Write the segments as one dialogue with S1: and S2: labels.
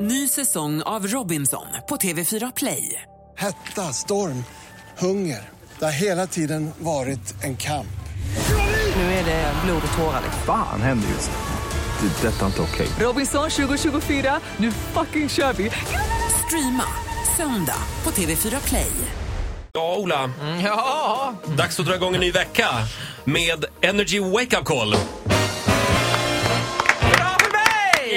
S1: Ny säsong av Robinson på TV4 Play.
S2: Hetta, storm, hunger. Det har hela tiden varit en kamp.
S1: Nu är det blod och tårar.
S3: Fan händer just nu. Det. är Detta är inte okej.
S1: Robinson 2024, nu fucking kör vi! Streama söndag på TV4 Play.
S4: Ja, Ola.
S5: Mm, Ja,
S4: Dags att dra igång en ny vecka med Energy Wake Up Call.
S5: bra för mig!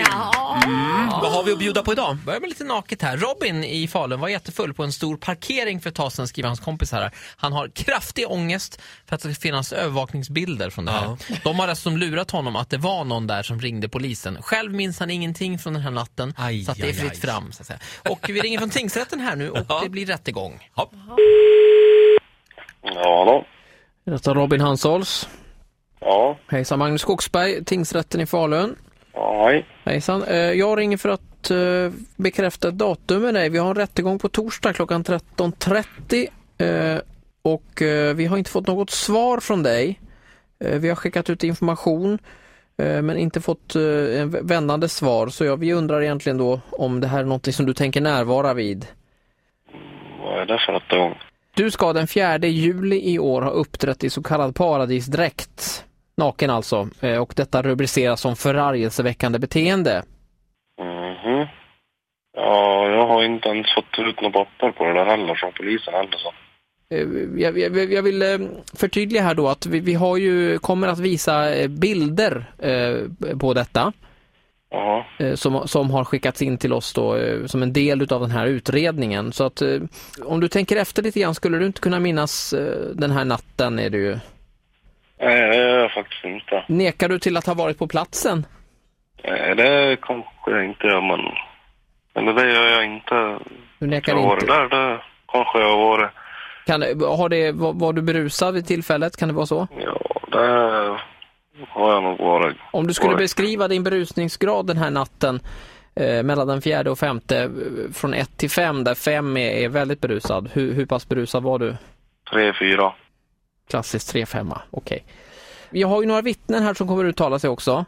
S4: Mm. Vad har vi att bjuda på idag?
S5: Börjar med lite naket här. Robin i Falun var jättefull på en stor parkering för ett tag sedan, skriver hans kompis här. Han har kraftig ångest för att det ska finnas övervakningsbilder från det här. De har dessutom lurat honom att det var någon där som ringde polisen. Själv minns han ingenting från den här natten,
S4: Aj,
S5: så att det är
S4: aj,
S5: fritt
S4: aj.
S5: fram. Så att säga. Och vi ringer från tingsrätten här nu och
S4: Ja.
S5: det blir rättegång.
S4: Ja.
S6: Ja, hallå.
S5: Detta Robin Hansols.
S6: Ja,
S5: Hejsan, Magnus Skogsberg, tingsrätten i Falun.
S6: ja, hej.
S5: Hejsan, Eh, jag ringer för att eh, bekräfta ett datum med dig. Vi har en rättegång på torsdag klockan 13.30 eh, och eh, vi har inte fått något svar från dig. Eh, Vi har skickat ut information eh, men inte fått eh, en vä- vändande svar så jag, vi undrar egentligen då om det här är något som du tänker närvara vid.
S6: Vad är det för rättegång?
S5: Du ska den 4 juli i år ha uppträtt i så kallad paradisdräkt, naken alltså, eh, och detta rubriceras som förargelseväckande beteende.
S6: Mhm. Ja, jag har inte ens fått ut något papper på det där heller från polisen heller så.
S5: Eh, Jag, jag, jag vill eh, förtydliga här då att vi, vi har ju, kommer att visa eh, bilder eh, på detta
S6: Jaha.
S5: eh, som, som har skickats in till oss då eh, som en del utav den här utredningen. Så att eh, om du tänker efter lite grann, skulle du inte kunna minnas eh, den här natten är det ju.
S6: Nej, det gör jag faktiskt inte.
S5: Nekar du till att ha varit på platsen?
S6: Nej, det kanske jag inte gör, men... Eller det gör jag inte.
S5: Du
S6: Jag har
S5: nekar
S6: varit
S5: inte.
S6: där, det kanske jag har varit.
S5: Kan, har det, var, var du berusad vid tillfället? Kan det vara så?
S6: Ja, det har jag nog varit.
S5: Om du skulle
S6: Varit.
S5: beskriva din berusningsgrad den här natten eh, mellan den fjärde och femte eh, från 1 till 5 där 5 är, är väldigt berusad. Hur, hur pass berusad var du?
S6: Tre, fyra.
S5: Klassiskt 3-5, okej. Jag har ju några vittnen här som kommer uttala sig också.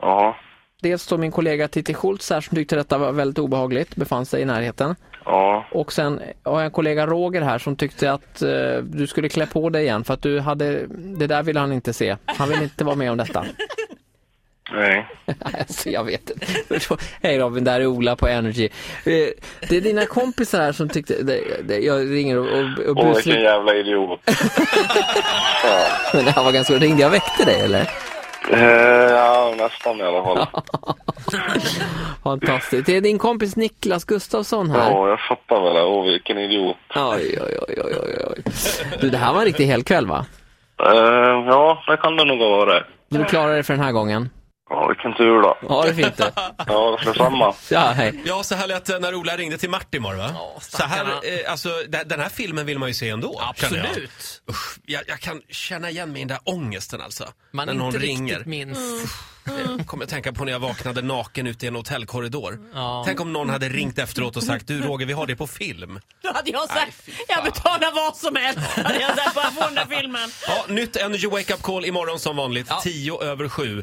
S6: Jaha.
S5: Dels då min kollega Titti Schultz här som tyckte detta var väldigt obehagligt, befann sig i närheten.
S6: Ja.
S5: Och sen har jag en kollega Roger här som tyckte att eh, du skulle klä på dig igen för att du hade, det där ville han inte se. Han ville inte vara med om detta.
S6: Nej.
S5: Alltså, jag vet inte. Hej Robin, där är Ola på Energy. Eh, Det är dina kompisar här som tyckte... det- det- Jag ringer och, och, och
S6: Åh, vilken
S5: busringer.
S6: jävla idiot. ja.
S5: Men det här var ganska... Ringde jag och väckte dig eller?
S6: Eh, ja, nästan i alla fall.
S5: Fantastiskt. Det är din kompis Niklas Gustafsson här.
S6: Ja, jag fattar väl det. Åh, vilken idiot.
S5: Oj, oj, oj, oj, oj, oj. Du, det här var en riktig helkväll va?
S6: Eh, ja, det kan det nog ha varit.
S5: Du klarar dig för den här gången.
S6: Ja, vilken tur då.
S5: Ha det fint du.
S6: Ja, detsamma.
S5: Ja, hej.
S4: ja, så här lät det när Ola ringde till Martin imorgon, va? så
S5: stackarna.
S4: här, eh, alltså, d- den här filmen vill man ju se ändå. känner Jag. Usch, jag, jag kan känna igen mig i den där ångesten alltså. när någon ringer.
S5: minns.
S4: Det kommer jag tänka på när jag vaknade naken ute i en hotellkorridor.
S5: Ja.
S4: Tänk om någon hade ringt efteråt och sagt du Roger, vi har det på film.
S7: Då hade jag sagt, jag betalar vad som helst. Hade jag sagt, bara få den där filmen.
S4: Ja, nytt Energy Wake Up Call imorgon som vanligt, 10 över 7.